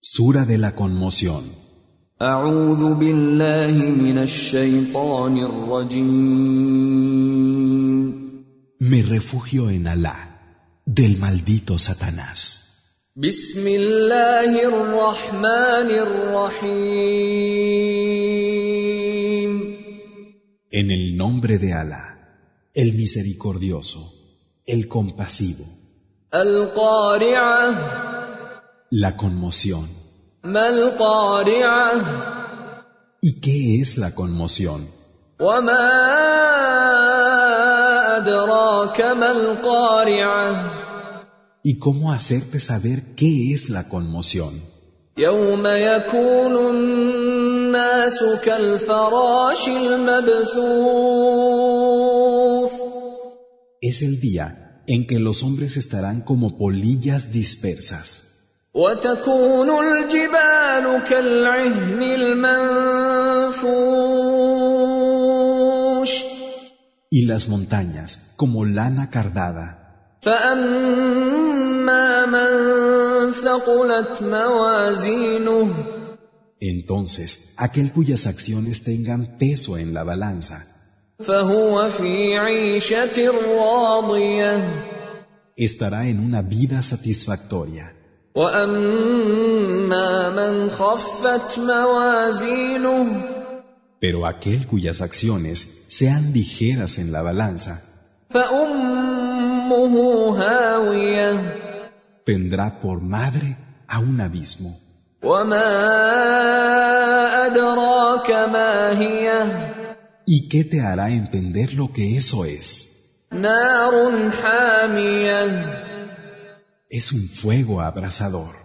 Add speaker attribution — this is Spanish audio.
Speaker 1: Sura de la conmoción.
Speaker 2: أعوذ بالله من الشيطان الرجيم
Speaker 1: Me refugio en Alá, del maldito Satanás.
Speaker 2: بسم الله الرحمن الرحيم
Speaker 1: En el nombre de Alá, el misericordioso, el compasivo.
Speaker 2: القارعة
Speaker 1: La conmoción.
Speaker 2: ما القارعة
Speaker 1: ¿Y qué es la conmoción?
Speaker 2: وما أدراك ما القارعة
Speaker 1: ¿Y cómo hacerte saber qué es la conmoción?
Speaker 2: يوم يكون الناس كالفراش المبثوث
Speaker 1: Es el día en que los hombres estarán como polillas dispersas
Speaker 2: وتكون الجبال كالعهن المنفوش
Speaker 1: y las montañas como lana cardada.
Speaker 2: فأما من ثقلت موازينه
Speaker 1: Entonces, aquel cuyas acciones tengan peso en la balanza,
Speaker 2: فهو في عيشة راضية
Speaker 1: estará en una vida satisfactoria.
Speaker 2: واما من خفت موازينه
Speaker 1: Pero aquel cuyas acciones sean ligeras en la balanza,
Speaker 2: فامه هاويه
Speaker 1: tendrá por madre a un abismo.
Speaker 2: وما ادراك ما هي
Speaker 1: ¿Y qué te hará entender lo que eso es?
Speaker 2: نار حاميه
Speaker 1: Es un fuego abrasador.